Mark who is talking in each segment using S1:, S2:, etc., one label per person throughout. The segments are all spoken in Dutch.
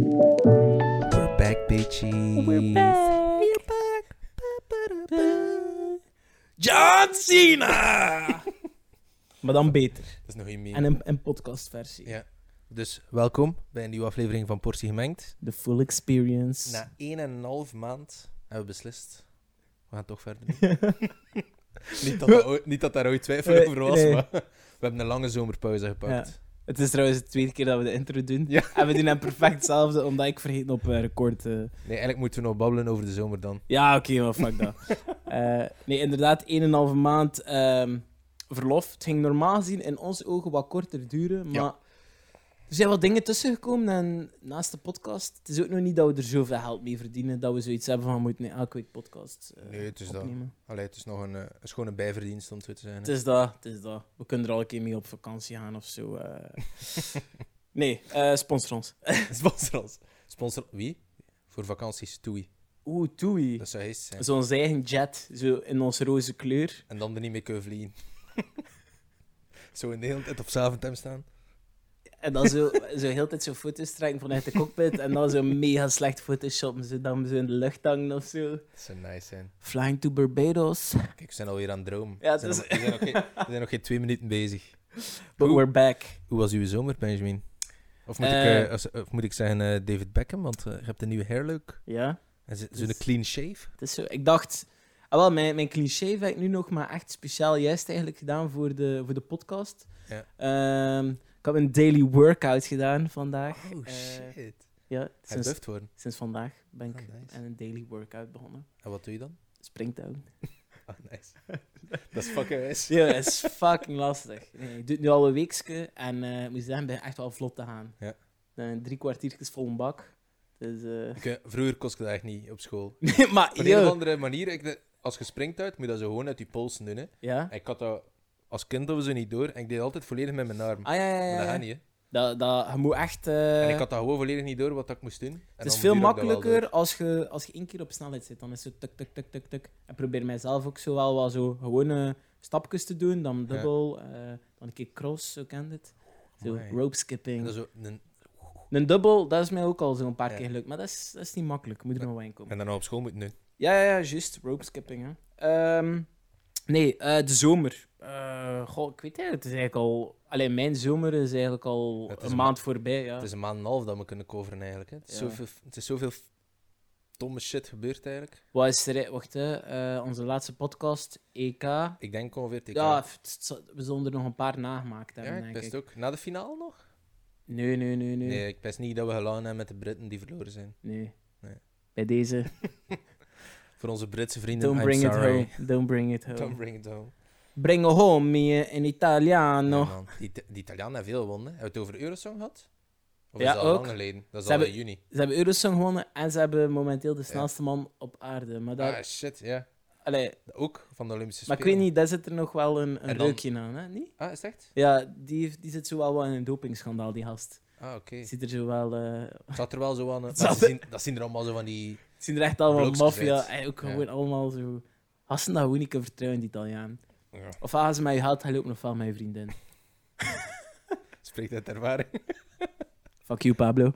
S1: We're back, bitches.
S2: We're back.
S1: We're back. Ba-ba-da-ba. John Cena!
S2: Maar dan beter.
S1: Dat is nog een meme.
S2: En een, een podcastversie.
S1: Ja. Dus welkom bij een nieuwe aflevering van Portie Gemengd.
S2: The full experience.
S1: Na 1,5 maand hebben we beslist. We gaan toch verder. doen. niet, dat dat ooit- niet dat daar ooit twijfel
S2: Eh,
S1: over was,
S2: nee.
S1: maar we hebben een lange zomerpauze gepakt.
S2: Het is trouwens de tweede keer dat we de intro doen.
S1: Ja.
S2: En we doen hem perfect hetzelfde, omdat ik vergeten op eh, record... eh,
S1: Nee, eigenlijk moeten we nog babbelen over de zomer dan.
S2: Ja, oké, maar fuck dat. Eh, nee, inderdaad, 1,5 maand ehm, verlof. Het ging normaal gezien in onze ogen wat korter duren, maar...
S1: Ja.
S2: Er zijn wat dingen tussengekomen en naast de podcast, het is ook nog niet dat we er zoveel geld mee verdienen, dat we zoiets hebben van, we moeten elke week podcast eh,
S1: Nee, het is dat.
S2: opnemen.
S1: Allee, het is nog een, eh, een schone bijverdienst om het zo te zijn.
S2: Het
S1: hè.
S2: is dat, het is dat. We kunnen er al een keer mee op vakantie gaan of zo. eh. nee, eh sponsor ons.
S1: Sponsor ons. Sponsor wie? Voor vakanties, Toei.
S2: Oeh, Toei.
S1: Dat zou hij zijn.
S2: Zo'n eigen jet, zo in onze roze kleur.
S1: En dan er niet mee kunnen vliegen. zo in de hele tijd op Zaventem staan.
S2: En dan zo, zo heel de tijd zo foto's trekken vanuit de cockpit. En dan zo mega slecht photoshoppen, zodat we zo in de lucht hangen of zo.
S1: Dat zou nice zijn.
S2: Flying to Barbados.
S1: Kijk, we zijn alweer aan het dromen.
S2: Ja,
S1: we, zijn
S2: dus-
S1: nog, we zijn nog geen, we zijn nog geen twee minuten bezig.
S2: But
S1: Oeh.
S2: we're back.
S1: Hoe was uw zomer, Benjamin? Of moet, ik,
S2: Eh.
S1: eh, als- of moet ik zeggen eh, David Beckham, want eh, je hebt een nieuwe hairlook.
S2: Ja,
S1: En ze- zo'n
S2: Dus-
S1: clean shave.
S2: het is zo. Ik dacht, ah, wel, mijn, mijn cliché heb ik nu nog maar echt speciaal juist eigenlijk gedaan voor de, voor de podcast.
S1: Ja.
S2: Ehm, ik heb een daily workout gedaan vandaag.
S1: Oh
S2: Eh,
S1: shit.
S2: ja,
S1: Hij
S2: sinds,
S1: buft worden.
S2: sinds vandaag ben ik
S1: Oh, nice.
S2: aan een daily workout begonnen.
S1: En wat doe je dan?
S2: Springdown.
S1: Ah, nice. Dat is fucking wijs.
S2: Ja, dat is fucking lastig. Nee, ik doe het nu al een weekje en eh, ik moet zeggen, ik ben echt wel vlot te gaan.
S1: Ja.
S2: Dan drie kwartiertjes vol een bak. Dus, eh,
S1: Ik, eh, vroeger kost ik dat echt niet op school.
S2: nee, maar,
S1: Op een of
S2: yo,
S1: andere manier, ik, de- als je springt uit, moet je dat zo gewoon uit je polsen doen. Hè.
S2: ja.
S1: Ik had dat als kind of zo niet door en ik deed altijd volledig met mijn arm.
S2: Ah ja, ja,
S1: Maar dat
S2: ja,
S1: gaat
S2: ja.
S1: niet, hè.
S2: Dat, dat, je moet echt... eh,
S1: En ik had dat gewoon volledig niet door wat dat ik moest doen. En
S2: het is
S1: dan
S2: veel
S1: duurde dat wel
S2: makkelijker
S1: door.
S2: als je, als je één keer op snelheid zit. Dan is het tuk, tuk, tuk, tuk, tuk. En probeer mijzelf ook zo wel wat zo gewone stapjes te doen. Dan dubbel, eh, dan een keer cross, zo kent het. Zo
S1: Amai.
S2: rope
S1: En
S2: skipping.
S1: dan, zo een-
S2: Een dubbel, dat is mij ook al zo'n paar
S1: Ja.
S2: keer gelukt. Maar dat is, dat is niet makkelijk. Moet er nog wel in komen.
S1: en dan op school moeten doen.
S2: Ja, ja, ja, juist. Rope skipping, hè. Ehm, nee, eh, de zomer. Eh, goh, ik weet het, het is eigenlijk al... Alleen mijn zomer is eigenlijk al
S1: Het is
S2: een
S1: een
S2: maand voorbij, ja.
S1: Het is een maand en een half dat we kunnen coveren eigenlijk. Hè. Het, is
S2: Ja.
S1: zoveel, het is zoveel f- domme shit gebeurd eigenlijk.
S2: Wat is er... Wacht, hè. eh, onze laatste podcast, E EK.
S1: Ik denk ongeveer tegen.
S2: Ja, f- het zal- we zullen er nog een paar nagemaakt
S1: ja,
S2: hebben,
S1: ik
S2: denk
S1: pest
S2: ik.
S1: ook. Na de finale nog?
S2: Nee, nee, nee, nee.
S1: Nee.
S2: nee.
S1: ik pest niet dat we gelaan hebben met de Britten die verloren zijn. Nee.
S2: Bij deze.
S1: Voor onze Britse vrienden,
S2: Don't
S1: I'm
S2: bring it
S1: sorry.
S2: home. Don't bring it home.
S1: Don't bring it home.
S2: Bring it home, mia, in
S1: Ja,
S2: Italiano.
S1: man. die, die Italianen hebben veel gewonnen. Hebben we het over Eurosong gehad? Of
S2: Ja,
S1: is dat al
S2: ook.
S1: lang geleden? Dat is
S2: Ze
S1: al in
S2: hebben-
S1: juni.
S2: Ze hebben Eurosong gewonnen en ze hebben momenteel de snelste man op aarde. Maar, daar,
S1: Ah, shit, ja.
S2: allee,
S1: Ook van de Olympische
S2: maar
S1: Spelen.
S2: ik weet niet, daar zit er nog wel een, een
S1: En dan-
S2: reukje aan, hè? Niet?
S1: Ah, is het echt?
S2: Ja, die, heeft- die zit zo wel wat in een dopingschandaal, die gast.
S1: Ah, oké.
S2: Ziet er zo wel... eh,
S1: Het zat er wel zo aan. eh,
S2: zat
S1: Dat zien, dat zien er allemaal zo van die.
S2: Het zien er echt allemaal
S1: Blokjes
S2: maffia.
S1: eruit.
S2: En ook
S1: Ja.
S2: gewoon allemaal zo. Hassen dat gewoon niet kunnen vertrouwen, die Italiaan.
S1: Ja.
S2: Of gaan ze mij haalt, hij loopt nog van mijn vriendin.
S1: Spreekt uit ervaring.
S2: Fuck you, Pablo.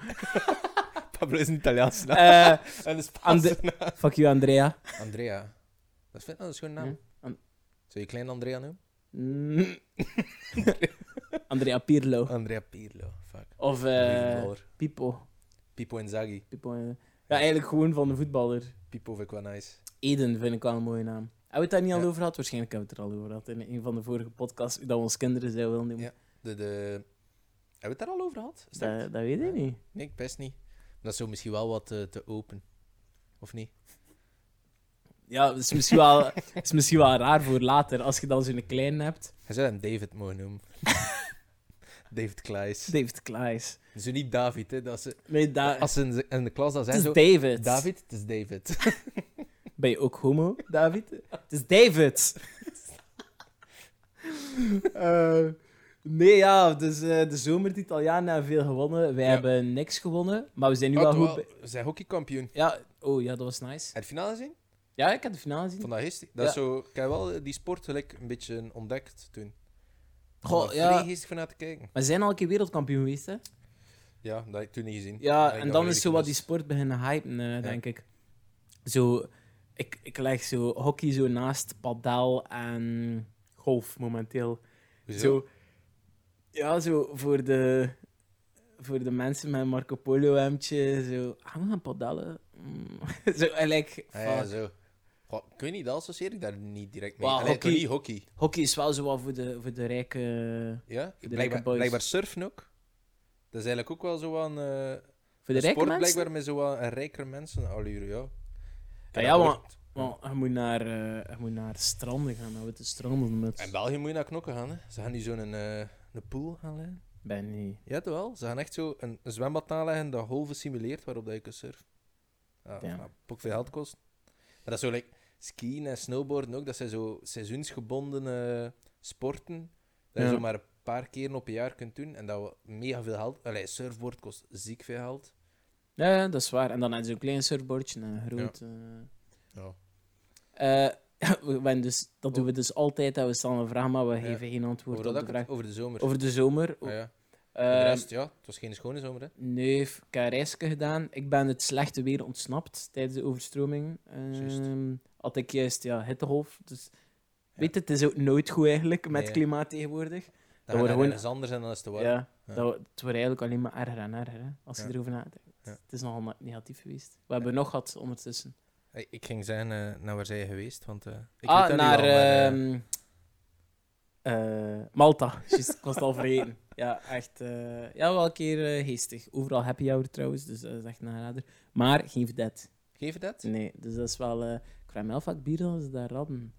S1: Pablo is een Italiaans naam.
S2: Eh,
S1: En een
S2: aan
S1: Spaanse
S2: de- fuck you, Andrea.
S1: naam. Andrea. Dat vind ik nou een schone naam.
S2: Ja, An-
S1: Zou je klein Andrea noemen?
S2: Mm. Andrea Pirlo.
S1: Andrea Pirlo. Fuck.
S2: Of
S1: Goeie
S2: Oh. eh
S1: voetballer.
S2: Pipo.
S1: Pipo Inzaghi.
S2: Pipo eh. Ja, eigenlijk gewoon van de voetballer.
S1: Pipo vind ik wel nice.
S2: Eden vind ik wel een mooie naam. Hebben we het daar niet
S1: Ja.
S2: al over gehad? Waarschijnlijk hebben we het er al over gehad. In een van de vorige podcasts, hoe dat we ons kinderen zouden willen noemen.
S1: Ja, De, de... Hebben we het daar al over gehad? Is dat-
S2: dat, dat weet ik niet.
S1: Nee, ik best niet. Dat is zo misschien wel wat eh, te open. Of niet?
S2: Ja, dat is misschien wel, dat is misschien wel raar voor later, als je dan zo'n klein hebt.
S1: Hij zou hem David mogen noemen. David Klaes.
S2: David Klaes.
S1: Zo niet David, hè. Dat ze,
S2: Nee, da
S1: Ah, als ze in de, in de klas dat
S2: het
S1: zijn,
S2: is
S1: zo...
S2: David.
S1: David, het is David.
S2: Ben je ook homo, David? het is David. Eh, nee, ja, dus eh, de zomer, de Italianen hebben veel gewonnen. Wij
S1: Ja.
S2: hebben niks gewonnen, maar we zijn nu wel
S1: Ah,
S2: goed...
S1: wel,
S2: bij-
S1: we zijn hockeykampioen.
S2: Ja, oh ja, dat was nice.
S1: Heb je het finale gezien?
S2: Ja, ik heb de finale gezien.
S1: Vandaag gisteren. Dat is
S2: Ja.
S1: zo... Ik heb wel eh, die sport gelijk een beetje ontdekt toen.
S2: Goh,
S1: Daar
S2: ja.
S1: vrees ik van uit te kijken.
S2: We zijn al een keer wereldkampioen geweest, hè?
S1: Ja, dat heb ik toen niet gezien. Dat
S2: Ja,
S1: heb ik
S2: en
S1: al
S2: dan is
S1: redelijk
S2: zo wat die
S1: gemist.
S2: sport beginnen hypen, eh, denk ik. Zo, ik, ik leg zo hockey zo naast padel en golf momenteel.
S1: Hoezo?
S2: Zo, ja, zo voor de, voor de mensen met Marco Polo-hemdje, zo, ah, we gaan padellen. Mm. zo, en like,
S1: Ah, ja,
S2: fuck.
S1: zo. Goh, ik weet niet, dat associeer ik daar niet direct mee.
S2: Wel,
S1: Allee, toch
S2: hockey-
S1: niet hockey.
S2: Hockey is wel zo wat voor de, voor de rijke...
S1: Ja?
S2: de
S1: Blijkbaar,
S2: lekker boys.
S1: blijkbaar surfen ook. Dat is eigenlijk ook wel zo aan... eh,
S2: Voor de
S1: een
S2: rijke
S1: sport
S2: mensen?
S1: blijkbaar met zo wat een rijker mensen allure, ja.
S2: Ja,
S1: En
S2: ja,
S1: dat
S2: maar-
S1: wordt-
S2: Want je moet naar, eh, je moet naar stranden gaan, naar witte stranden met...
S1: In België moet je naar knokken gaan, hè. Ze gaan nu zo'n eh, een pool aanleggen.
S2: Ben niet.
S1: Ja, toch wel. Ze gaan echt zo een, een zwembad aanleggen dat golven simuleert waarop dat je kunt surfen. Ja,
S2: Damn.
S1: maar ook veel geld kost. Maar dat is zo, like, skiën en snowboarden ook, dat zijn zo seizoensgebonden eh, sporten. Dat
S2: Ja.
S1: je zo maar een paar keer op een jaar kunt doen. En dat we mega veel geld... Allee, surfboard kost ziek veel geld.
S2: Ja, ja, dat is waar. En dan had ze een klein surfboardje, een groot. eh.
S1: Ja.
S2: Eh, we zijn dus, dat doen we dus altijd. Dat we stellen een vraag, maar we geven geen antwoord
S1: Over, dat
S2: op de
S1: ik
S2: vraag.
S1: het- over de zomer.
S2: Over de zomer.
S1: Ah, ja. Voor de
S2: Eh,
S1: rest, ja. Het was geen schone zomer, hè.
S2: nee, ik heb een reisje gedaan. Ik ben het slechte weer ontsnapt tijdens de overstroming. Ehm,
S1: Juist.
S2: had ik juist ja, hittegolf. Dus, Weet je, het is ook nooit goed eigenlijk met
S1: Nee.
S2: klimaat tegenwoordig.
S1: Dan
S2: wordt
S1: wordt
S2: gewoon-
S1: gewoon... anders en dan is het te warm.
S2: Ja,
S1: Ja.
S2: Dat, we- het wordt eigenlijk alleen maar erger en erger, hè, als je
S1: Ja.
S2: erover nadenkt.
S1: Ja.
S2: Het is nogal ne- negatief geweest. We hebben nog gehad ondertussen.
S1: Hey, Ik ging zeggen, eh, naar waar zij je geweest? Want, eh, ik
S2: ah,
S1: weet dat nu
S2: naar
S1: al, maar, eh,
S2: ehm, eh, Malta. Juist, ik was het al vergeten. Ja, echt. eh, ja, wel een keer eh, geestig. Overal happy hour trouwens, dus dat is echt een aanrader. Maar geen verdet.
S1: Geef je dat?
S2: Nee, dus dat is wel... eh, ik vraag me af wat bier als ze daar hadden.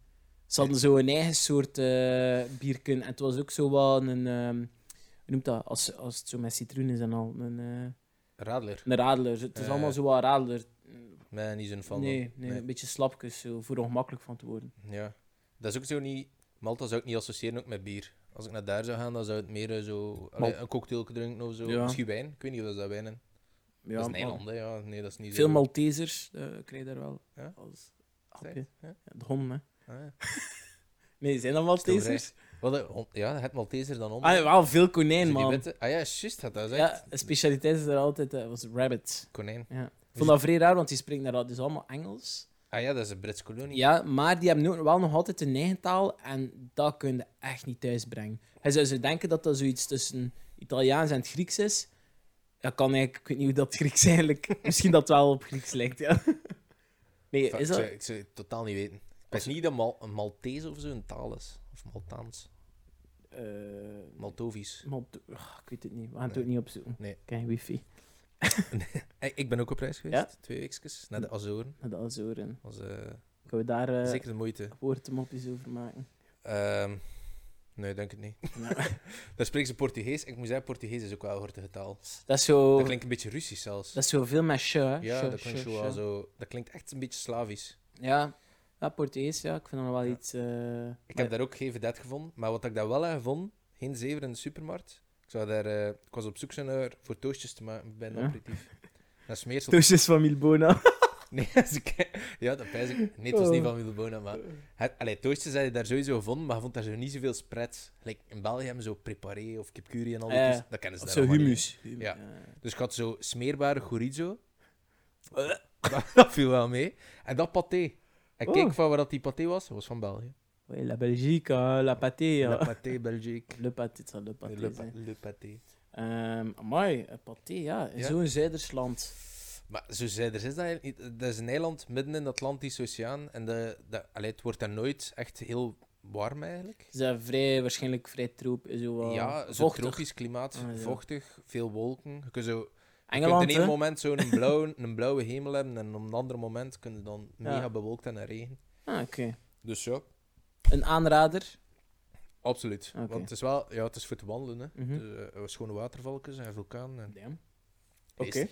S2: Ze hadden zo een eigen soort eh bierken. En het was ook zo wel een... ehm, hoe noemt dat? Als, als het zo met citroen is en al. Een, eh,
S1: Radler.
S2: een radler. Het is
S1: Eh.
S2: allemaal zo wat radler.
S1: Nee, niet zo'n fan.
S2: Nee,
S1: van.
S2: nee, een beetje slapjes, zo, voor ongemakkelijk van te worden.
S1: Ja. Dat is ook zo niet... Malta zou ik niet associëren ook met bier. Als ik naar daar zou gaan, dan zou het meer eh, zo... allee,
S2: Mal-
S1: een cocktail drinken of zo.
S2: Ja.
S1: Misschien wijn. Ik weet niet of dat wijn is.
S2: Ja,
S1: dat is een
S2: maar-
S1: eiland, hè. Ja, nee, dat is niet
S2: Veel
S1: zo...
S2: Maltesers eh krijg je daar wel.
S1: Ja?
S2: Als
S1: Zeg,
S2: hapje.
S1: ja.
S2: Ja, de honden, hè.
S1: Ah, ja.
S2: Nee, zijn dat Maltesers?
S1: Wat, eh, hond- ja, het Malteser dan om.
S2: Ah, wel veel
S1: Zo
S2: konijn,
S1: die
S2: man.
S1: witte- Ah ja, juist. Dat is echt...
S2: Ja, de specialiteit is er altijd, eh, was rabbit.
S1: Konijn.
S2: Ja. Ik vond dat vrij raar, want die spreken daar al- dus allemaal Engels.
S1: Ah ja, dat is een Brits kolonie.
S2: Ja, maar die hebben ook wel nog altijd een eigen taal en dat kun je echt niet thuisbrengen. Hij zou ze denken dat dat zoiets tussen Italiaans en het Grieks is. Dat kan eigenlijk, ik weet niet hoe dat Grieks eigenlijk... Misschien dat het wel op Grieks lijkt, ja. Nee,
S1: Enfin,
S2: is dat...
S1: Ik zou, ik zou het totaal niet weten. Ik weet niet dat Mal een Maltese of zo een taal is. Of Maltaans.
S2: eh,
S1: Maltovisch.
S2: Malt- Ugh, ik weet het niet. We gaan het ook niet opzoeken.
S1: Nee.
S2: Ik heb geen wifi.
S1: Hey, ik ben ook op reis geweest. Twee weekjes. Naar de Azoren.
S2: Naar de Azoren.
S1: was eh,
S2: Kunnen we daar eh
S1: zeker de moeite.
S2: woordmopjes over maken?
S1: Ehm, nee, denk het niet. Daar spreken ze Portugees. Ik moet zeggen, Portugees is ook wel een hortige taal.
S2: Dat is zo...
S1: Dat
S2: Dat,
S1: klinkt een beetje Russisch zelfs.
S2: Oh. is zo veel met je, hè.
S1: ja,
S2: Sje,
S1: dat klinkt,
S2: sje,
S1: zo wel
S2: sje.
S1: zo, dat klinkt echt een beetje Slavisch.
S2: Ja. Ja, Portugees, ja. Ik vind dat wel
S1: Ja.
S2: iets... eh,
S1: Ik
S2: maar-
S1: heb daar ook geen dat gevonden. Maar wat ik daar wel heb gevonden, geen zever in de supermarkt. Ik, zou daar, eh, ik was op zoek naar voor toastjes te maken bij een
S2: Ja.
S1: aperitief. Dat smeersel
S2: Toastjes van Milbona.
S1: Nee, als ik... Ja, dat pijs ik. Nee, het was
S2: Oh.
S1: niet van Wilbona, maar... Het, allee, toastjes had je daar sowieso gevonden, maar je vond daar zo niet zoveel spread. Like, in België hebben ze zo preparé of kipcurry en al die
S2: Eh,
S1: toestanden. Dat kennen ze
S2: Of
S1: daar
S2: zo
S1: allemaal niet.
S2: humus. Hum-
S1: Ja.
S2: eh.
S1: Dus ik had zo smeerbare chorizo.
S2: Eh.
S1: dat, dat viel wel mee. En dat paté. En
S2: Oh.
S1: keek van waar dat die paté was, dat was van België.
S2: Oui, la Belgique, eh, la pâté.
S1: Le
S2: ja.
S1: paté Belgique.
S2: Le pâté, het zal le pâté
S1: Le, pa-
S2: zijn.
S1: le paté.
S2: Ehm, amai, eh, pâté, ja. In
S1: Ja.
S2: zo'n Zuidersland.
S1: Maar zo zei er is dat eigenlijk niet. Dat is een eiland midden in de Atlantische Oceaan. En de, de, allee, het wordt daar nooit echt heel warm eigenlijk.
S2: Ze zijn vrij, waarschijnlijk vrij troep. Zo, eh,
S1: Ja, zo'n
S2: vochtig.
S1: tropisch klimaat,
S2: Ah, ja.
S1: vochtig, veel wolken. Je kunt, zo, je kunt
S2: Engeland,
S1: in één
S2: hè?
S1: moment zo'n blauwe, een blauwe hemel hebben en op een ander moment kun je dan
S2: Ja.
S1: mega bewolkt en regen.
S2: Ah, oké.
S1: Dus ja,
S2: Een aanrader.
S1: absoluut.
S2: Oké.
S1: Want het is wel, ja, het is voor te wandelen. Hè.
S2: Mhm.
S1: Dus, eh, schone watervalken en vulkaan. En
S2: Damn. Oké.
S1: Oké.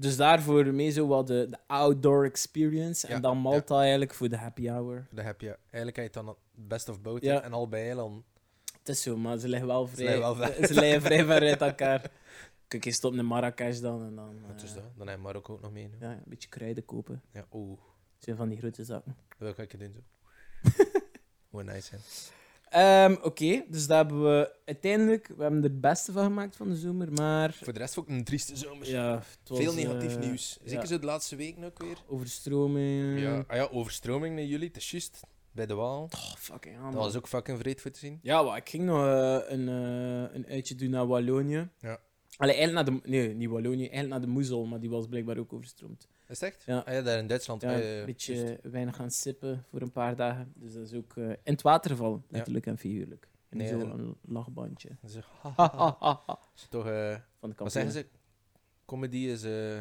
S2: Dus daarvoor mee zo wat de, de outdoor experience. En
S1: Ja,
S2: dan Malta eigenlijk voor de happy hour.
S1: Dan heb je eigenlijk heb je het dan best of both
S2: Ja.
S1: hè, en al bij eiland.
S2: Het is zo, maar ze liggen wel vrij,
S1: liggen wel ver-
S2: ze liggen vrij ver uit elkaar. Kijk, je stopt naar Marrakesh dan en dan...
S1: Maar het is
S2: eh,
S1: dat. Dan heb je Marokko ook nog mee. hè.
S2: Ja, een beetje kruiden kopen.
S1: Ja, oeh,
S2: Zo van die grote zakken.
S1: dat wil ik een keer doen zo. Hoe nice, hè.
S2: Ehm, Oké, dus dat hebben we uiteindelijk... We hebben er het beste van gemaakt van de zomer, maar...
S1: Voor de rest ook een trieste zomer.
S2: Ja, het was,
S1: Veel negatief
S2: eh,
S1: nieuws. Zeker zo de laatste week ook weer.
S2: Overstroming.
S1: Ja, ah ja overstroming naar jullie, het is juist. Bij de Waal.
S2: Oh, fucking hell,
S1: Dat
S2: man.
S1: was ook fucking vreed voor te zien.
S2: Ja, maar ik ging nog eh, een, eh, een uitje doen naar Wallonië.
S1: Ja.
S2: Allee, eigenlijk naar de... Nee, niet Wallonië. Eigenlijk naar de Moezel, maar die was blijkbaar ook overstroomd.
S1: Is het echt?
S2: Ja.
S1: Ah ja, daar in Duitsland.
S2: Ja,
S1: ah ja,
S2: een beetje
S1: juist.
S2: weinig gaan sippen voor een paar dagen. Dus dat is ook eh, in het water vallen, letterlijk en figuurlijk. En
S1: Nee,
S2: zo
S1: en-
S2: een lachbandje. Ah,
S1: Dat is echt- Toch, eh,
S2: Van de
S1: wat
S2: kampioen.
S1: zeggen ze? Comedy is eh,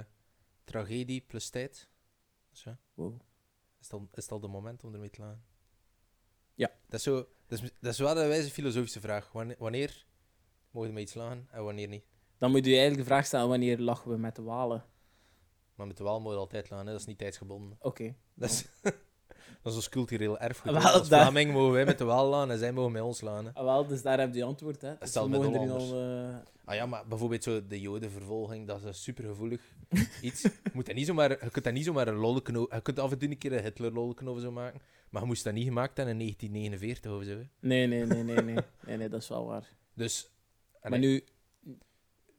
S1: tragedie plus tijd. Zo.
S2: Wow.
S1: Is het, al, is het al de moment om ermee te lachen?
S2: Ja.
S1: Dat is, zo, dat, is, dat is wel een wijze filosofische vraag. Wanneer, wanneer mogen we met iets lachen en wanneer niet?
S2: Dan moet je je eigenlijk de vraag stellen, wanneer lachen we met de walen?
S1: Maar met de waal mogen we altijd lachen, hè? dat is niet tijdsgebonden.
S2: Oké.
S1: Dat is, dat is ons cultureel erfgoed.
S2: Wel,
S1: hè. Als
S2: daar-
S1: Vlaming mogen wij met de waal lachen en zij mogen met ons lachen. hè.
S2: Ah, wel, dus daar heb je antwoord, hè. Dus
S1: zal
S2: we
S1: met
S2: mogen er nu
S1: Hollanders.
S2: al... eh,
S1: Ah ja, maar bijvoorbeeld zo de jodenvervolging, dat is een supergevoelig iets. Je, moet dat niet zomaar, je kunt dat niet zomaar een lolleken o- Je kunt af en toe een keer een Hitler-lolleken over zo maken. Maar je moest dat niet gemaakt hebben in 1949 of zo. hè.
S2: Nee, nee, nee, nee, nee. nee, nee, dat is wel waar.
S1: Dus...
S2: Maar
S1: allee,
S2: nu,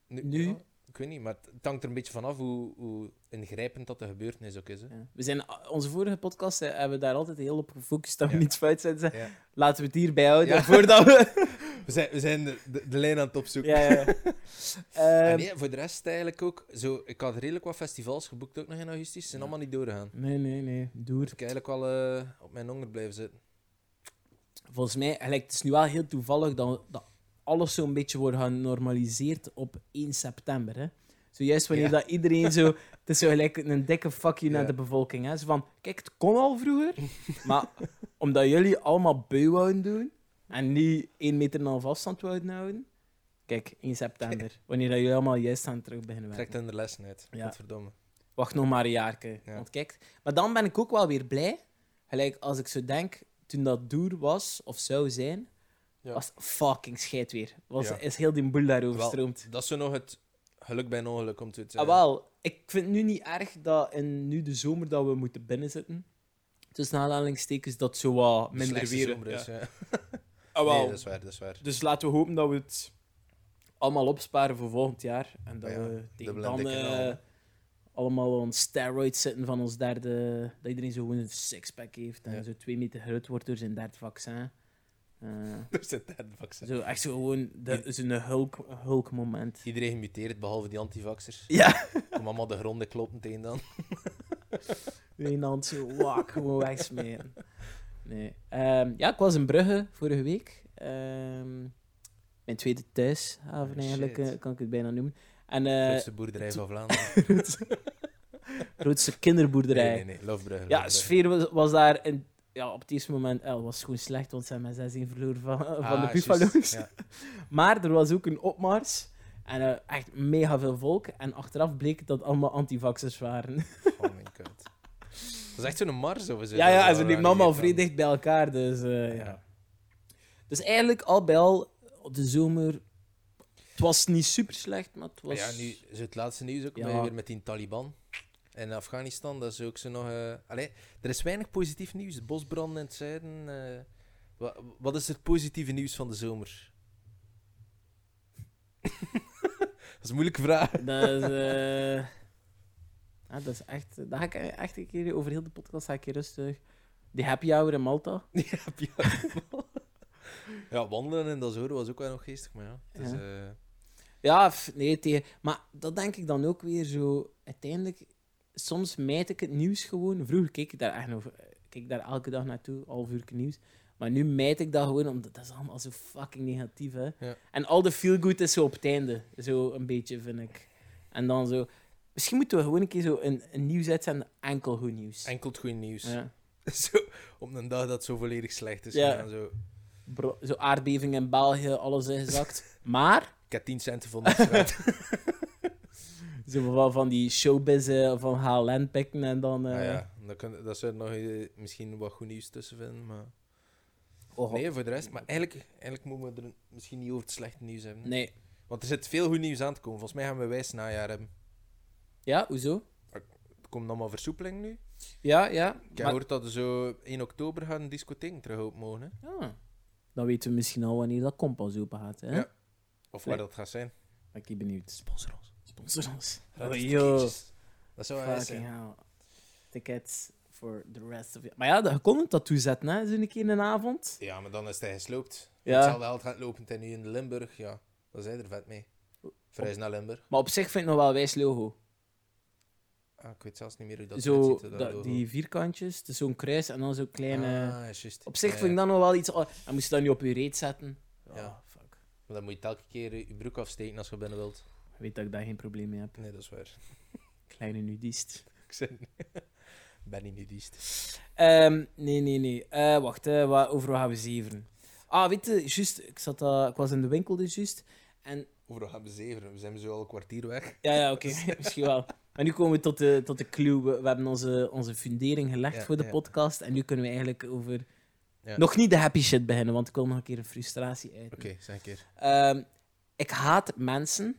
S2: nu-
S1: ja, ik weet niet, maar het het hangt er een beetje vanaf hoe, hoe ingrijpend dat de gebeurtenis ook is. Hè.
S2: ja. we zijn, onze vorige podcast eh, hebben we daar altijd heel op gefocust dat we
S1: Ja.
S2: niets fout zijn. Zeg,
S1: Ja.
S2: Laten we het hierbij houden,
S1: Ja.
S2: voordat we...
S1: We zijn, we zijn de, de, de lijn aan het opzoeken.
S2: ja, ja.
S1: En
S2: Ehm,
S1: nee, voor de rest eigenlijk ook. Zo, ik had redelijk wat festivals geboekt ook nog in augustus. Ze zijn
S2: Ja.
S1: allemaal niet doorgegaan.
S2: Nee, nee, nee. Doer.
S1: Dus ik eigenlijk wel eh, op mijn honger blijven zitten.
S2: Volgens mij, gelijk, het is nu wel heel toevallig dat, dat alles zo'n beetje wordt genormaliseerd op 1 september. Hè? Zojuist wanneer
S1: Ja.
S2: dat iedereen zo... Het is zo gelijk een dikke fuck you
S1: Ja.
S2: naar de bevolking. Hè? Zo van, kijk, het kon al vroeger, maar omdat jullie allemaal beu wouden doen en niet 1 meter en een half afstand wouden houden, kijk, 1 september, wanneer dat jullie allemaal juist aan terug beginnen werken.
S1: Trekt hun de lessen uit.
S2: Ja.
S1: Godverdomme.
S2: Wacht nog maar een jaarke.
S1: Ja.
S2: Want kijk, maar dan ben ik ook wel weer blij. Gelijk als ik zo denk, toen dat duur was of zou zijn,
S1: Ja.
S2: was het fucking scheid weer. Was,
S1: Ja.
S2: Is heel die boel daarover
S1: Wel,
S2: gestroomd.
S1: Dat is zo nog het geluk bij een ongeluk, om het te
S2: Ah, wel, ik vind het nu niet erg dat in nu de zomer dat we moeten binnenzitten. Tussen aanhalingstekens dat zo wat
S1: De
S2: minder
S1: slechtste
S2: weer.
S1: zomer is,
S2: ja.
S1: ja.
S2: Ah, wel.
S1: Nee, dat is waar, dat is waar.
S2: Dus laten we hopen dat we het allemaal opsparen voor volgend jaar. En dat
S1: Ah Ja,
S2: we tegen
S1: dubbel en
S2: dan
S1: dikke
S2: eh,
S1: knallen.
S2: allemaal on steroids zitten van ons derde... Dat iedereen zo gewoon een sixpack heeft en
S1: Ja.
S2: zo twee meter groot wordt door zijn derde vaccin. Eh,
S1: Er zit daar een vaccin.
S2: zo echt zo gewoon de- zo'n Hulk, Hulk-moment.
S1: Iedereen gemuteerd, behalve die antivaxers.
S2: Ja.
S1: Kom allemaal de gronden kloppen tegen dan.
S2: Eén hand zo, wak, gewoon wegsmijten. Nee. Ehm, ja, ik was in Brugge vorige week. Ehm, mijn tweede thuishaven
S1: Oh,
S2: eigenlijk,
S1: shit.
S2: eh, kan ik het bijna noemen. En, eh,
S1: Grootste boerderij van Vlaanderen.
S2: grootste kinderboerderij.
S1: Nee, nee, nee. Lofbrugge.
S2: Ja, de
S1: Lofbrugge.
S2: sfeer was, was daar in, ja, op het eerste moment eh, was gewoon slecht, want ze hebben met 6-1 verloren van, eh, van de
S1: Ah,
S2: Buffalo's.
S1: juist, ja.
S2: Maar er was ook een opmars en eh, echt mega veel volk. En achteraf bleek dat allemaal antivaxers waren.
S1: Oh mijn god. Dat is echt zo'n mars of zo.
S2: ja, ja, en
S1: Dat
S2: ze
S1: we
S2: liepen
S1: daar
S2: allemaal
S1: niet
S2: vrij
S1: van-
S2: dicht bij elkaar. Dus, eh, ja.
S1: Ja.
S2: dus eigenlijk al bij al, op de zomer, het was niet super slecht, maar het
S1: Maar
S2: was...
S1: Ja, nu is het laatste nieuws ook
S2: Ja.
S1: bij- weer met die Taliban. En Afghanistan, dat is ook zo nog... eh, Allee, er is weinig positief nieuws. Bosbranden in het zuiden. eh, wa- Wat, is het positieve nieuws van de zomer? dat is een moeilijke vraag.
S2: Dat is, eh, ja, dat is echt... Daar ga ik echt een keer over heel de podcast ga ik een keer rustig... Die happy hour in Malta.
S1: ja, ja. ja, wandelen in dat zomer was ook wel nog geestig, maar ja. Het is, eh,
S2: Ja, f- nee, tegen... maar dat denk ik dan ook weer zo. Uiteindelijk, soms mijt ik het nieuws gewoon. Vroeger keek ik daar echt over. Keek ik daar elke dag naartoe, half uur nieuws. Maar nu mijt ik dat gewoon, omdat dat is allemaal zo fucking negatief, hè.
S1: Ja.
S2: En al de feel-good is zo op het einde. Zo een beetje, vind ik. En dan zo... Misschien moeten we gewoon een keer zo een, een nieuws uitzenden, enkel goed nieuws.
S1: enkel het goede nieuws.
S2: Ja.
S1: zo, op een dag dat het zo volledig slecht is.
S2: Ja.
S1: gegaan, Zo,
S2: Bro- zo aardbeving in België, alles ingezakt. maar,
S1: ik heb 10 cent gevonden op straat.
S2: zo van, van die showbiz eh, van HLN pikken en dan... eh,
S1: Ah ja, dan kun, dat zou er nog eh, misschien wat goed nieuws tussen vinden. Maar...
S2: oh,
S1: Nee, voor de rest. Maar eigenlijk, eigenlijk moeten we er misschien niet over het slechte nieuws hebben.
S2: nee.
S1: Want er zit veel goed nieuws aan te komen. Volgens mij gaan we een wijs najaar hebben.
S2: Ja, hoezo?
S1: Er komt allemaal versoepeling nu. Ik
S2: Ja, ja.
S1: heb gehoord dat er zo 1 oktober gaan discotheek terug op mogen. hè.
S2: ja. Ah. Dan weten we misschien al wanneer dat kompas open gaat. Hè?
S1: Ja. Of waar dat gaat zijn.
S2: Ben ik benieuwd. Sponsor ons. Sponsor ons.
S1: Ticketjes. Dat zou wel
S2: Fucking
S1: zijn.
S2: hell. Tickets for the rest of it. Maar ja, je kon een tattoo zetten, hè, zo'n keer in een avond.
S1: Ja, maar dan is hij gesloopt.
S2: Ja.
S1: Hetzelfde geld gaat lopen ten nu in Limburg. Ja, dan zijn er vet mee. Verhuis naar Limburg.
S2: Maar op zich vind ik nog wel wijs logo.
S1: Ah, ik weet zelfs niet meer hoe dat eruit
S2: zo,
S1: ziet.
S2: dat-
S1: logo.
S2: die vierkantjes, dus zo'n kruis en dan zo'n kleine...
S1: Ah, is juist.
S2: Op zich
S1: Ja,
S2: vind ik
S1: ja.
S2: dat nog wel iets... Oh, en moest je dat nu op je reet zetten?
S1: Ja.
S2: fuck.
S1: Maar dan moet je telkens keer eh, je broek afsteken als je binnen wilt.
S2: Ik weet dat ik daar geen probleem mee heb.
S1: Nee, dat is waar.
S2: Kleine nudist.
S1: Ik zei- ben niet nudist.
S2: Ehm, nee, nee, nee. Eh, wacht, hè, wa- over wat gaan we zeveren? Ah, weet je, juist, ik, zat, dat ik was in de winkel dus juist. En
S1: Overal gaan we zeven. We zijn zo al een kwartier weg.
S2: Ja, ja, oké. Misschien wel. Maar nu komen we tot de, tot de clue. We, we hebben onze, onze fundering gelegd
S1: Ja,
S2: voor de
S1: ja.
S2: podcast. En nu kunnen we eigenlijk over...
S1: Ja.
S2: Nog niet de happy shit beginnen, want ik wil nog een keer een frustratie uit.
S1: Oké, zeg een keer.
S2: Ehm, ik haat mensen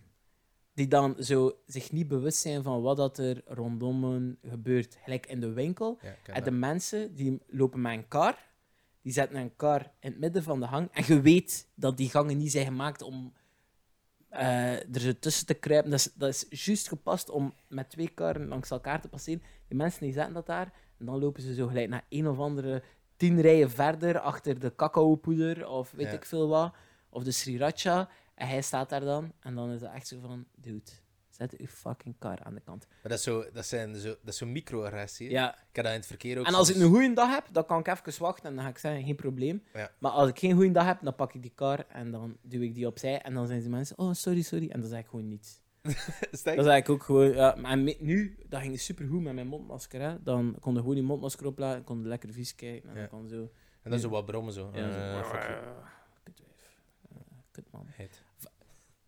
S2: die dan zo zich niet bewust zijn van wat dat er rondom hen gebeurt. Gelijk in de winkel.
S1: Ja, ik ken
S2: En de
S1: dat.
S2: mensen die lopen met een kar, die zetten een kar in het midden van de gang. En je weet dat die gangen niet zijn gemaakt om eh, er zo tussen te kruipen. Dat is, dat is juist gepast om met twee karren langs elkaar te passeren. Die mensen die zetten dat daar. En dan lopen ze zo gelijk naar een of andere tien rijen verder achter de cacaopoeder of weet
S1: Ja.
S2: ik veel wat. Of de sriracha. En hij staat daar dan. En dan is het echt zo van: dude, zet uw fucking kar aan de kant.
S1: Maar dat is zo, dat zijn zo, dat is zo microagressie. hè.
S2: Ja,
S1: Ik heb dat in het verkeer ook. dus.
S2: en als ik
S1: soms.
S2: een goede dag heb, dan kan ik even wachten en dan ga ik zeggen, geen probleem.
S1: Ja.
S2: Maar als ik geen goede dag heb, dan pak ik die kar en dan duw ik die opzij. En dan zijn die mensen, oh, sorry, sorry. En dan zeg ik gewoon niets.
S1: Is dat-
S2: Dat is eigenlijk ook gewoon... Ja, maar en me- nu, dat ging supergoed met mijn mondmasker. Hè. Dan kon je gewoon die mondmasker opladen, kon je lekker vies kijken. En
S1: Ja.
S2: dan kon zo...
S1: En dan zo wat brommen zo.
S2: Ja,
S1: Eh,
S2: zo,
S1: fuck you.
S2: Kutwijf. Eh, Kutman.
S1: Heet.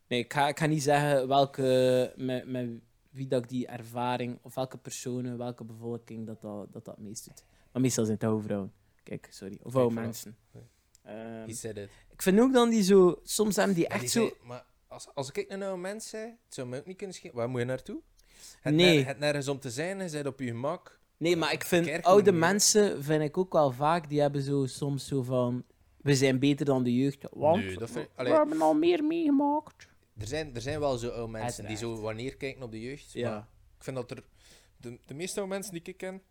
S2: Nee, ik ga, ik ga niet zeggen welke, met, met wie dat ik die ervaring, of welke personen, welke bevolking dat dat, dat, dat meest doet. Maar meestal zijn het oude vrouwen. Kijk, sorry. Of oude
S1: voilà.
S2: mensen.
S1: Ja.
S2: Ehm,
S1: He said it.
S2: ik vind ook dan die zo, soms hebben die
S1: Maar
S2: echt
S1: die
S2: zo.
S1: zei- maar als, als ik een oude mens zei, het zou mij ook niet kunnen schelen. Waar moet je naartoe? Het
S2: Nee.
S1: ner- het nergens om te zijn, je bent op je gemak.
S2: Nee, maar ik vind
S1: Kerk
S2: oude
S1: moet-
S2: mensen, vind ik ook wel vaak, die hebben zo soms zo van. We zijn beter dan de jeugd, want
S1: Nee, dat vind-
S2: we
S1: allee-
S2: hebben al meer meegemaakt.
S1: Er zijn, er zijn wel zo oude mensen die
S2: Uiteraard.
S1: zo wanneer kijken op de jeugd.
S2: Ja.
S1: Maar ik vind dat er... De, de meeste oude mensen die ik ken...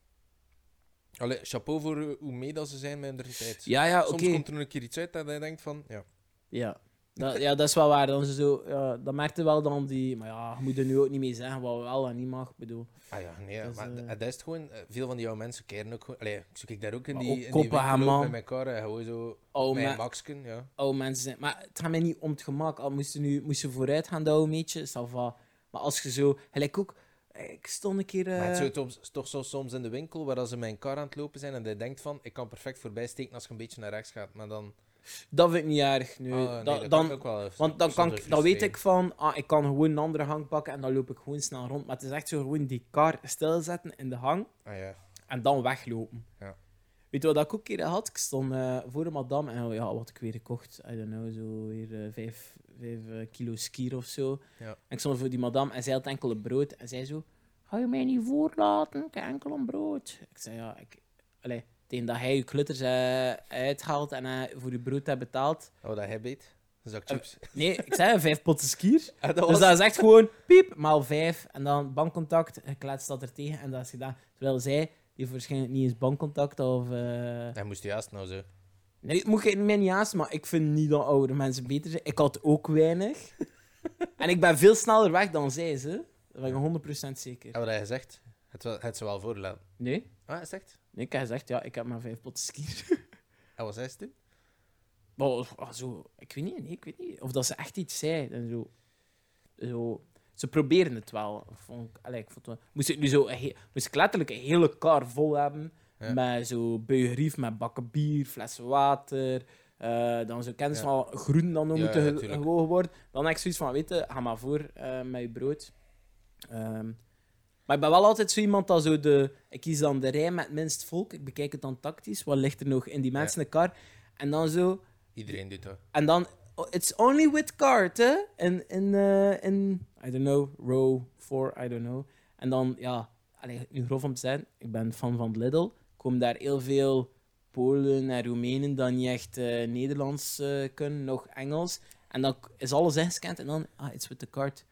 S1: Allee, chapeau voor eh, hoe mee dat ze zijn met hun tijd.
S2: Ja, ja, oké.
S1: Soms komt er een keer iets uit dat je denkt van... Ja,
S2: Ja. Dat, ja, dat is wel waar. Dan, ze zo, ja, dat merkte wel dan die. Maar ja, je moet er nu ook niet mee zeggen wat wel en niet mag. Ik bedoel.
S1: ah ja, nee, ja,
S2: Dat is,
S1: maar
S2: eh,
S1: d- dat is het gewoon... eh, Veel van die oude mensen keren ook gewoon... Allee, ik zoek ik daar ook in
S2: Maar
S1: die,
S2: ook
S1: in die
S2: koppen
S1: winkel
S2: gaan,
S1: ook
S2: man.
S1: met mijn kar. eh, Gewoon zo...
S2: Oh,
S1: mijn
S2: maar-
S1: maksken, ja.
S2: Oh, mensen zijn. Maar het gaat mij niet om het gemak. Al moest je, nu, moest je vooruit gaan douwen, meetje. ça va. Maar als je zo. Gelijk ook. Ik stond een keer. eh,
S1: Maar het is zo soms- toch zo soms in de winkel waar dat ze mijn kar aan het lopen zijn en die denkt van, ik kan perfect voorbij steken als je een beetje naar rechts gaat, maar dan...
S2: Dat vind ik niet erg. Nu.
S1: Ah, nee,
S2: Da-
S1: dat kan
S2: dan,
S1: ik ook wel even-
S2: want dan,
S1: soms
S2: kan
S1: wel
S2: ik, dan weet ik
S1: frustreren.
S2: van. Ah, ik kan gewoon een andere hang pakken en dan loop ik gewoon snel rond. Maar het is echt zo gewoon die kar stilzetten in de hang.
S1: Ah ja,
S2: en dan weglopen.
S1: Ja.
S2: Weet je wat ik ook een keer had? Ik stond eh, voor een madame en ja, wat had ik weer gekocht, I don't know, zo weer eh, vijf, vijf eh, kilo skier of zo.
S1: Ja.
S2: En ik stond voor die madame en zij had enkele brood. En zij zo, ga je mij niet voorlaten, ik heb enkel een brood. Ik zei, ja, ik... Allee, tegen dat hij je klutters eh, uithaalt en eh, voor je brood hebt betaald.
S1: oh, dat heb je het. Een zak chips.
S2: Nee, ik zei vijf potten skier.
S1: Ah, dat
S2: Dus
S1: was...
S2: Eh, dat is echt gewoon piep, maal vijf. En dan bankcontact, je kletst dat er tegen en dat is gedaan. Terwijl zij, die heeft waarschijnlijk niet eens bankcontact of... eh,
S1: Hij moest juist nou zo.
S2: Nee, het moet ik mij niet haast, maar ik vind niet dat oudere mensen beter zijn. Ik had ook weinig. en ik ben veel sneller weg dan zij, ze. Dat ben ik 100% zeker.
S1: En wat hij gezegd? Het, wel- het ze wel voorlaten.
S2: Nee?
S1: Ah, is het echt?
S2: Nee, ik heb gezegd, ja, ik heb maar vijf potten skier.
S1: En wat zei ze toen?
S2: Maar ah, zo, ik weet niet, nee, ik weet niet. Of dat ze echt iets zei. En zo. zo. Ze proberen het wel. Vond ik, allee, ik vond het wel- Moest ik nu zo een he- moest ik letterlijk een hele kar vol hebben.
S1: Ja.
S2: Met zo buierief, met bakken bier, flessen water. eh, dan zo kennis
S1: Ja.
S2: van groen dan nog
S1: Ja,
S2: moeten
S1: ja,
S2: ge-
S1: tuurlijk.
S2: gewogen worden. Dan heb ik zoiets van, weet je, ga maar voor eh, met je brood. Ehm, maar ik ben wel altijd zo iemand dat zo de... Ik kies dan de rij met het minst volk. Ik bekijk het dan tactisch. Wat ligt er nog in die mensen de kar? En dan zo...
S1: Iedereen doet dat.
S2: En dan, oh, it's only with cart, hè? En, en, eh, en, I don't know, row 4, I don't know. En dan, ja, allee, nu grof om te zijn, ik ben fan van het Lidl. Komen daar heel veel Polen en Roemenen dat niet echt eh, Nederlands eh, kunnen, nog Engels. En dan k- is alles ingescand en dan, ah, it's with the card.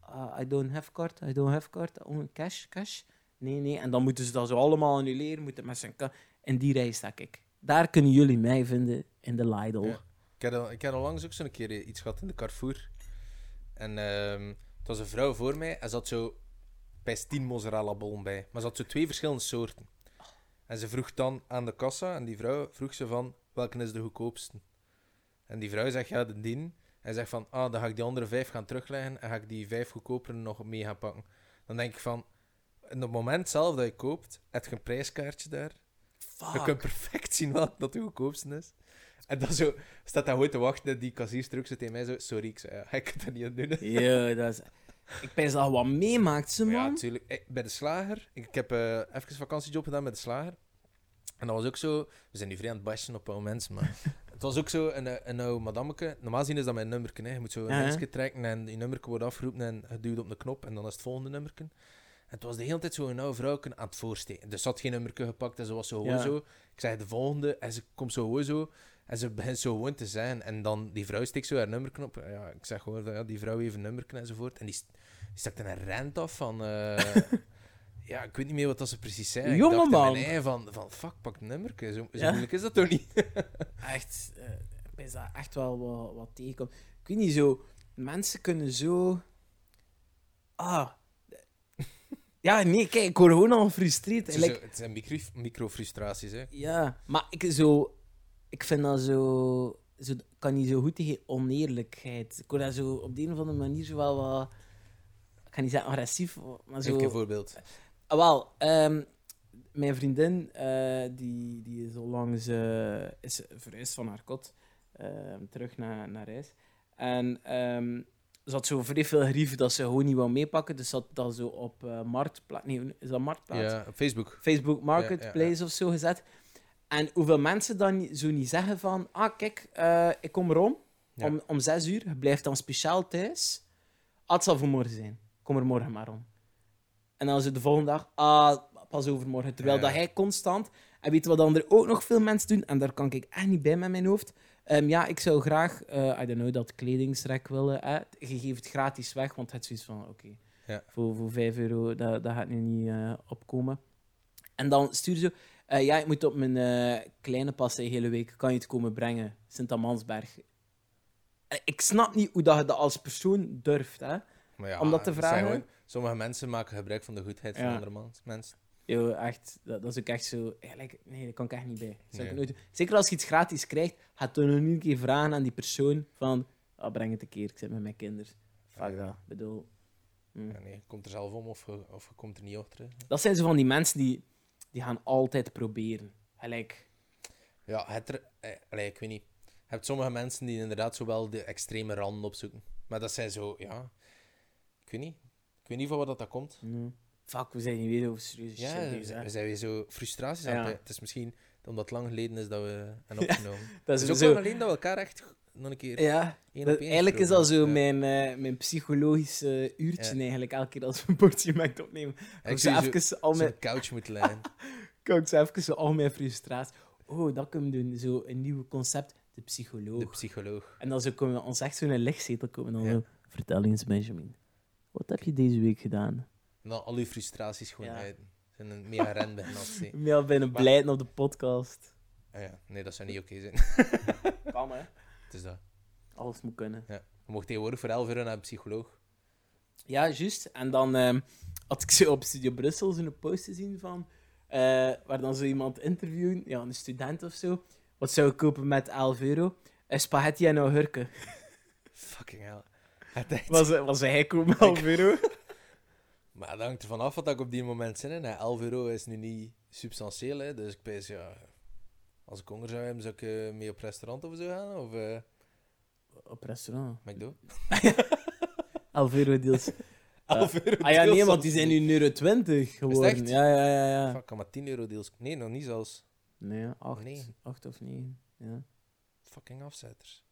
S2: Ah, I don't have card, I don't have card. Oh, cash, cash. Nee, nee. En dan moeten ze dat zo allemaal annuleren, moeten met zijn ka- In die rij sta ik. Daar kunnen jullie mij vinden in de Lidl.
S1: Ja. Ik had, al, ik had al langs ook zo'n keer iets gehad in de Carrefour. En ehm, het was een vrouw voor mij en ze had zo bij 10 mozzarella bollen bij. Maar ze had zo twee verschillende soorten. En ze vroeg dan aan de kassa en die vrouw vroeg ze van, welke is de goedkoopste? En die vrouw zegt, ja, de dien. Hij zegt van, ah, dan ga ik die andere vijf gaan terugleggen en ga ik die vijf goedkoperen nog mee gaan pakken. Dan denk ik van, in het moment zelf dat je koopt, heb je een prijskaartje daar. Je
S2: Fuck.
S1: kunt perfect zien wat dat de goedkoopste is. En dan zo, staat daar gewoon te wachten en die kassier terug zit tegen mij zo... Sorry, ik, zei, ja, ik kan dat niet aan doen. hè."
S2: Ja, dat is... Ik ben dat je wat meemaakt, ze
S1: Maar ja,
S2: man.
S1: natuurlijk. eh, Bij de slager... Ik heb eh even een vakantiejob gedaan bij de slager. En dat was ook zo... We zijn nu vrij aan het bashen op oude mensen, maar... het was ook zo een, eh, een oude madammeke. Normaal gezien is dat mijn nummerken. Hè. Je moet zo een
S2: Ja, hè.
S1: mensje trekken en je nummerken wordt afgeroepen en je duwt op een knop en dan is het volgende nummerken. En het was de hele tijd zo'n oude vrouwke aan het voorsteken. Dus ze had geen nummerke gepakt en ze was zo gewoon
S2: Ja.
S1: zo. Ik zeg de volgende en ze komt zo gewoon zo. En ze begint zo gewoon te zijn. En dan die vrouw steekt zo haar nummerken op. Ja, ik zeg gewoon, van, ja, die vrouw heeft een nummerken enzovoort. En die, st- die stak dan een rent af van... eh, ja, ik weet niet meer wat dat ze precies zei. Ik dacht in
S2: Jongeman.
S1: mijn ei van, van, fuck, pak het nummerke. Zo, zo
S2: Ja.
S1: moeilijk is dat toch niet?
S2: Echt, eh, ik ben dat echt wel wat, wat tegenkomt. Ik weet niet zo. Mensen kunnen zo. Ah. Ja, nee, kijk, ik word gewoon al gefrustreerd.
S1: Het, is
S2: Like,
S1: zo- het zijn micro, microfrustraties, hè.
S2: Ja, maar ik, zo, ik vind dat zo, zo. ik kan niet zo goed tegen oneerlijkheid. Ik word daar zo op de een of andere manier zo wel wat. Ik ga niet zeggen agressief, maar
S1: Geef ik een
S2: zo.
S1: voorbeeld.
S2: Ah, wel, ehm, mijn vriendin, eh, die, die is onlangs eh, is verhuisd van haar kot ehm, terug naar, naar huis. En ehm, ze had zo vrij veel grief dat ze gewoon niet wou meepakken. Dus ze had dat zo op eh Marktplaats... Nee, is dat Marktplaats?
S1: Ja, op Facebook.
S2: Facebook Marketplace
S1: Ja, ja,
S2: of zo gezet. En hoeveel mensen dan ni- zo niet zeggen van... Ah, kijk, eh, ik kom erom
S1: Ja.
S2: om, om zes uur. Je blijft dan speciaal thuis. Ah, het zal voor morgen zijn. Kom er morgen maar om. En dan is het de volgende dag... Ah, pas overmorgen. Terwijl
S1: Ja.
S2: dat hij constant... En weet je wat dan er ook nog veel mensen doen? En daar kan ik echt niet bij met mijn hoofd. Ehm, ja, ik zou graag, eh, I don't know, dat kledingsrek willen. Hè? Je geeft het gratis weg, want het is zoiets van, oké,
S1: Ja.
S2: voor, voor 5 euro, dat, dat gaat nu niet eh, opkomen. En dan stuur ze, eh, ja, ik moet op mijn eh, kleine passen de hele week, kan je het komen brengen, Sint-Amansberg. Eh, Ik snap niet hoe dat je dat als persoon durft, hè.
S1: Maar ja,
S2: Om dat te
S1: het zijn
S2: vragen?
S1: gewoon- sommige mensen maken gebruik van de goedheid van
S2: Ja.
S1: andere mans- mensen.
S2: Yo, echt, dat, dat is ook echt zo... Eigenlijk, nee, daar kan ik echt niet bij. Zou ik
S1: Nee.
S2: nooit doen. Zeker als je iets gratis krijgt, ga het dan nog een keer vragen aan die persoon van... ah, breng het een keer, ik zit met mijn kinderen. Fuck
S1: Ja.
S2: dat, bedoel... mm.
S1: Ja, nee, je komt er zelf om of je, of je komt er niet achter. hè.
S2: Dat zijn zo van die mensen die, die gaan altijd proberen. Gelijk...
S1: Ja, het er, eh, allee, ik weet niet. Je hebt sommige mensen die inderdaad zo wel de extreme randen opzoeken. Maar dat zijn zo, ja... Ik weet niet. Ik weet niet van waar dat, dat komt.
S2: mm, Fuck, we zijn hier weer over serieuze
S1: Ja,
S2: shit
S1: we
S2: bezig, hè.
S1: zijn- we zijn weer zo frustraties
S2: Ja.
S1: aan het... Het is misschien omdat het lang geleden is dat we hebben opgenomen. Het
S2: Dat is
S1: is ook
S2: zo...
S1: wel alleen dat we elkaar echt nog een keer
S2: Ja,
S1: één
S2: dat-
S1: op één
S2: eigenlijk
S1: gesproken
S2: is dat zo
S1: hebben.
S2: mijn, eh, mijn psychologische eh, uurtje
S1: Ja.
S2: eigenlijk, elke keer als we een bordje maakt opnemen.
S1: Ja, Ik
S2: Ik zou
S1: zou zo,
S2: even al mijn...
S1: zo'n couch moeten leggen.
S2: Kijk, ik zo even zo al mijn frustratie. Oh, dat kunnen we doen. Zo een nieuw concept, de psycholoog.
S1: De psycholoog.
S2: en dan zo komen we ons echt zo in een lichtzetel komen. Dan
S1: Ja.
S2: zo, Vertel eens, Benjamin. Wat heb je deze week gedaan?
S1: En dan al uw frustraties gewoon
S2: Ja.
S1: uit. En een mega ren bij Nasty.
S2: Mail binnen
S1: Maar-
S2: blijden op de podcast.
S1: Ah ja, nee, dat zou niet oké zijn.
S2: Kan, hè?
S1: Het is dat.
S2: Alles moet kunnen.
S1: Je mocht tegenwoordig voor 11 euro naar een psycholoog.
S2: Ja, juist. En dan ehm, had ik zo op Studio Brussel zo'n post gezien van... eh, waar dan zo iemand interviewen, ja, een student of zo. Wat zou ik kopen met 11 euro? Eh, spaghetti en augurken.
S1: Fucking hell. Het echt-
S2: Was, was hij komen 11 euro?
S1: Maar dat hangt ervan af wat ik op die moment zin in heb. 11 euro is nu niet substantieel, hè. Dus ik pijs, ja... Als ik honger zou hebben, zou ik eh, mee op restaurant of zo gaan? Of eh
S2: Op restaurant.
S1: McDo?
S2: 11 euro deals.
S1: 11 euro
S2: Ah ja,
S1: deals
S2: nee,
S1: soms
S2: want die zijn nu een euro 20 geworden.
S1: echt?
S2: Ja, ja, ja. ja.
S1: Fuck, ik kan maar 10 euro deals... Nee, nog niet zelfs.
S2: Nee, 8.
S1: Negen.
S2: 8 of 9. Ja,
S1: Fucking afzetters.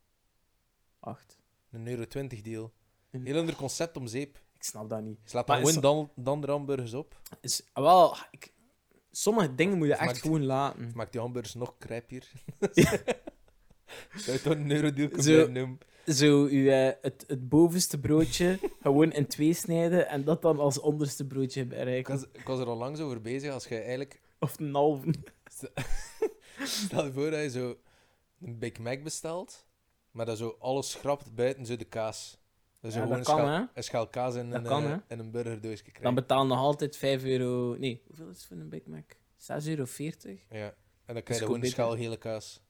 S2: 8.
S1: Een euro 20 deal.
S2: Een-
S1: Heel ander concept om zeep.
S2: Ik snap dat niet.
S1: Slaat
S2: Maar
S1: dan
S2: is
S1: gewoon dan, dan de hamburgers op.
S2: Is, ah, wel, ik, sommige dingen moet je
S1: Of
S2: echt
S1: maakt-
S2: gewoon laten.
S1: Maakt die hamburgers nog crappier. Zou je toch een eurodeal kunnen
S2: Zo.
S1: noemen?
S2: Zo uw, eh, het, het bovenste broodje gewoon in twee snijden en dat dan als onderste broodje
S1: Ik
S2: bereiken.
S1: was, ik was er al langs over bezig. Als je eigenlijk...
S2: Of een halve.
S1: Stel je voor dat je zo een Big Mac bestelt, maar dat zo alles schrapt buiten zo de kaas. Dat je
S2: Ja,
S1: gewoon
S2: dat
S1: een,
S2: kan,
S1: schaal,
S2: hè.
S1: een schaal kaas en
S2: Dat
S1: een,
S2: kan,
S1: eh,
S2: hè.
S1: en een burgerdoosje krijgt.
S2: Dan betaal je nog altijd 5 euro. Nee, hoeveel is het voor een Big Mac? 6,40 euro.
S1: Ja, en dan
S2: is
S1: krijg je gewoon een
S2: goed
S1: schaal hele kaas.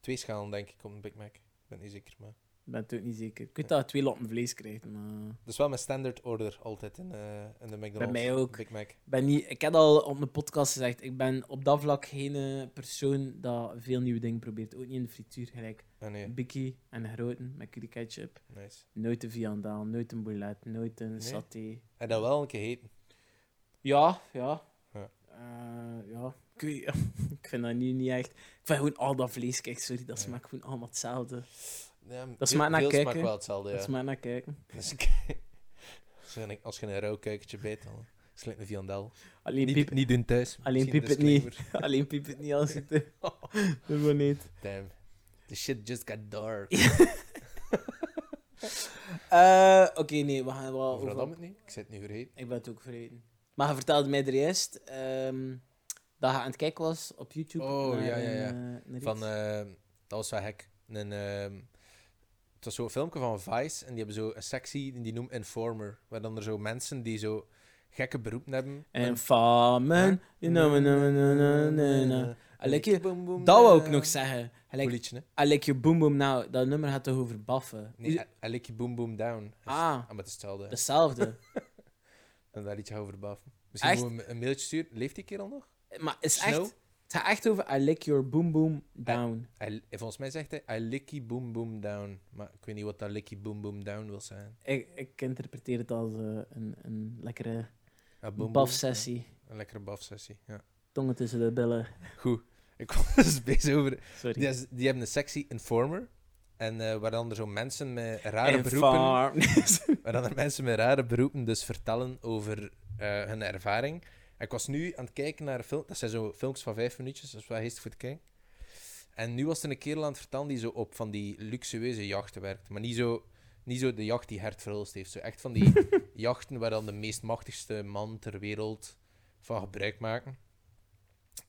S1: Twee schalen, denk ik, op een Big Mac. Ik ben niet zeker, maar...
S2: Ik ben het ook niet zeker. Ik weet dat je twee lappen vlees krijgt, maar.
S1: Dat is wel mijn standaard order altijd in, eh, in de McDonald's.
S2: mij ook.
S1: Big Mac.
S2: Ik ben niet, ik heb al op mijn podcast gezegd, ik ben op dat vlak geen eh, persoon dat veel nieuwe dingen probeert. Ook niet in de frituur, gelijk
S1: Ah, nee.
S2: bikkie en groten met curry ketchup.
S1: Nice.
S2: Nooit een viandaal, nooit een boulet, nooit een saté.
S1: En dat wel een keer heten.
S2: Ja, ja.
S1: Ja.
S2: Eh, ja. Ik, weet- ik vind dat nu niet echt... Ik vind gewoon al dat vlees, kijk, sorry, dat
S1: Ja.
S2: smaakt gewoon allemaal hetzelfde.
S1: Ja,
S2: Dat
S1: veel-
S2: smaakt naar
S1: veel
S2: kijken.
S1: smaakt wel hetzelfde, ja.
S2: Dat is maar naar kijken.
S1: Dus ik- als, je een, als je een rauw kuikentje bijt, dan slijt een viandel.
S2: Alleen
S1: Niet,
S2: piep,
S1: niet doen thuis.
S2: alleen
S1: Misschien
S2: piep het niet.
S1: disclaimer.
S2: Alleen piep het niet als het... Doe maar niet.
S1: Damn. The shit just got dark.
S2: Eh, Oké, nee, we gaan wel...
S1: Of
S2: over-
S1: dat het niet? Ik zit nu vergeten.
S2: Ik ben het ook vergeten. Maar je vertelde mij er eerst ehm, dat je aan het kijken was op YouTube.
S1: Oh, ja, ja, ja.
S2: eh, naar iets.
S1: Van, ehm, dat was wel gek. Een, ehm, het was zo'n filmpje van Vice en die hebben zo een sectie en die noemt Informer. Waar dan er zo mensen die zo gekke beroepen hebben.
S2: En Nou, famen.
S1: Ja.
S2: you know, na, na, na, na, na, na. I like you.
S1: Boom, boom,
S2: nou. Dat wou ik
S1: eh,
S2: nog zeggen. I
S1: Goed
S2: like,
S1: liedje, hè?
S2: I like you boom boom now. Dat nummer gaat toch over baffen?
S1: Nee,
S2: Is-
S1: I, I like you boom boom down. Dat is-
S2: ah,
S1: Ah, maar het is hetzelfde. hè.
S2: hetzelfde.
S1: En daar liedje over baffen. Misschien
S2: Echt?
S1: moeten we hem een mailtje sturen. Leeft die kerel nog?
S2: maar het is echt...
S1: Snow?
S2: Het gaat echt over I like your boom boom down.
S1: Hij, volgens mij zegt hij, I lick you boom boom down. Maar ik weet niet wat dat lick you boom boom down wil zijn.
S2: Ik, ik interpreteer het als eh, een, een lekkere
S1: Ah, boom, boom.
S2: baf-sessie.
S1: Een lekkere baf-sessie, ja.
S2: Tongen tussen de billen.
S1: Goed. Ik was dus bezig over
S2: Sorry.
S1: Die, is- die hebben een sectie Informer. En eh, waar dan er zo mensen met rare beroepen...
S2: Farm.
S1: Waar dan er mensen met rare beroepen dus vertellen over eh, hun ervaring. En ik was nu aan het kijken naar een film... Dat zijn zo films van vijf minuutjes, dat is wel geestig voor te kijken. En nu was er een kerel aan het vertellen die zo op van die luxueuze jachten werkt. Maar niet zo, niet zo de jacht die Hert Verhulst heeft. Zo echt van die jachten waar dan de meest machtigste man ter wereld van gebruik maken.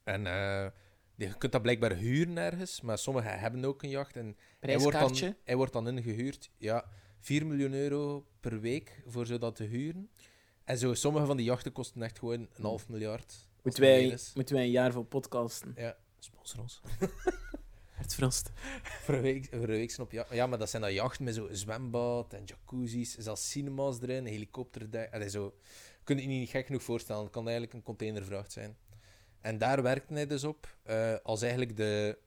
S1: En eh, je kunt dat blijkbaar huren ergens, maar sommigen hebben ook een jacht. En hij wordt, dan,
S2: Prijskaartje.
S1: hij wordt dan ingehuurd. Ja, 4 miljoen euro per week voor zo dat te huren. En zo, sommige van die jachten kosten echt gewoon een half miljard. als
S2: Moeten
S1: het veel
S2: wij,
S1: is.
S2: moeten wij een jaar voor podcasten?
S1: Ja, sponsor ons.
S2: Het frost.
S1: Voor een week, voor een week zijn op ja, ja, maar dat zijn dan jachten met zo'n zwembad en jacuzzi's, zelfs cinema's erin, helikopterdek. Allee, zo. Kun je je niet gek genoeg voorstellen. Het kan eigenlijk een containervracht zijn. En daar werkte hij dus op eh, als eigenlijk de,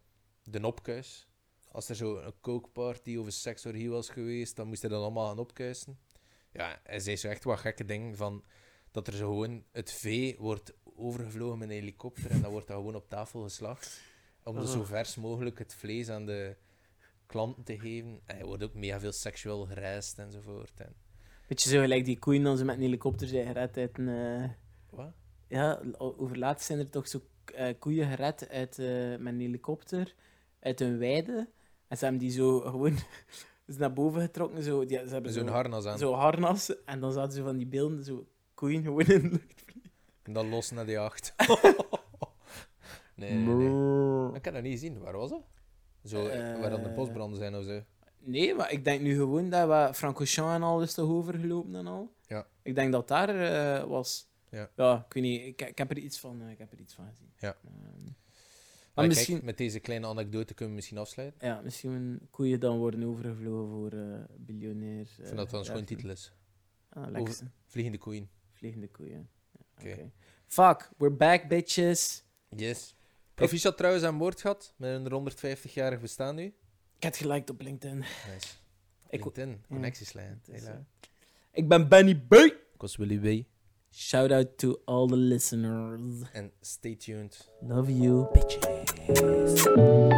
S1: de opkuis. Als er zo een kookparty of een seksorgie was geweest, dan moest hij dat allemaal gaan opkuisen. Ja, hij zei zo echt wat gekke dingen van dat er zo gewoon het vee wordt overgevlogen met een helikopter en dan wordt dat gewoon op tafel geslacht. Om dus zo
S2: Oh.
S1: vers mogelijk het vlees aan de klanten te geven. En hij wordt ook mega veel seksueel gereisd enzovoort. En,
S2: Beetje zo gelijk die koeien dan ze met een helikopter zijn gered uit een... eh,
S1: wat?
S2: ja, o- overlaatst zijn er toch zo eh, koeien gered uit, eh, met een helikopter uit een weide. En ze hebben die zo gewoon dus naar boven getrokken. Zo, die, ze hebben
S1: Zo'n
S2: zo'n
S1: harnas aan.
S2: zo harnas. En dan zaten ze van die beelden zo koeien gewoon in de lucht.
S1: En dan los naar de jacht. nee, nee, nee.
S2: Nee,
S1: Ik heb dat niet gezien. Waar was dat? Zo,
S2: Eh.
S1: waar dan de bosbranden zijn of zo.
S2: maar ik denk nu gewoon dat we Francochamp en al is toch overgelopen en al.
S1: Ja.
S2: Ik denk dat daar eh, was.
S1: Ja.
S2: ik weet niet. Ik, ik heb er iets van, eh, ik heb er iets van gezien.
S1: Ja.
S2: Ehm,
S1: Maar
S2: maar
S1: kijk,
S2: misschien,
S1: met deze kleine anekdote kunnen we misschien afsluiten.
S2: ja, misschien koeien dan worden overgevlogen voor eh biljonairs.
S1: Ik vind dat dan een schoon titel is.
S2: Ah, lekker.
S1: Over- Vliegende koeien.
S2: Vliegende koeien. Ja,
S1: Oké.
S2: oké. Fuck, we're back, bitches.
S1: Yes. Proficiat trouwens aan boord gehad, met een 150-jarig bestaan nu.
S2: Ik heb het geliked op LinkedIn.
S1: Nice.
S2: Ik- Mm.
S1: LinkedIn, connectieslijn.
S2: Het is,
S1: Hela.
S2: eh, Ik ben Benny B.
S1: Ik was Willy Way.
S2: Shout out to all the listeners.
S1: En stay tuned.
S2: Love you, bitches.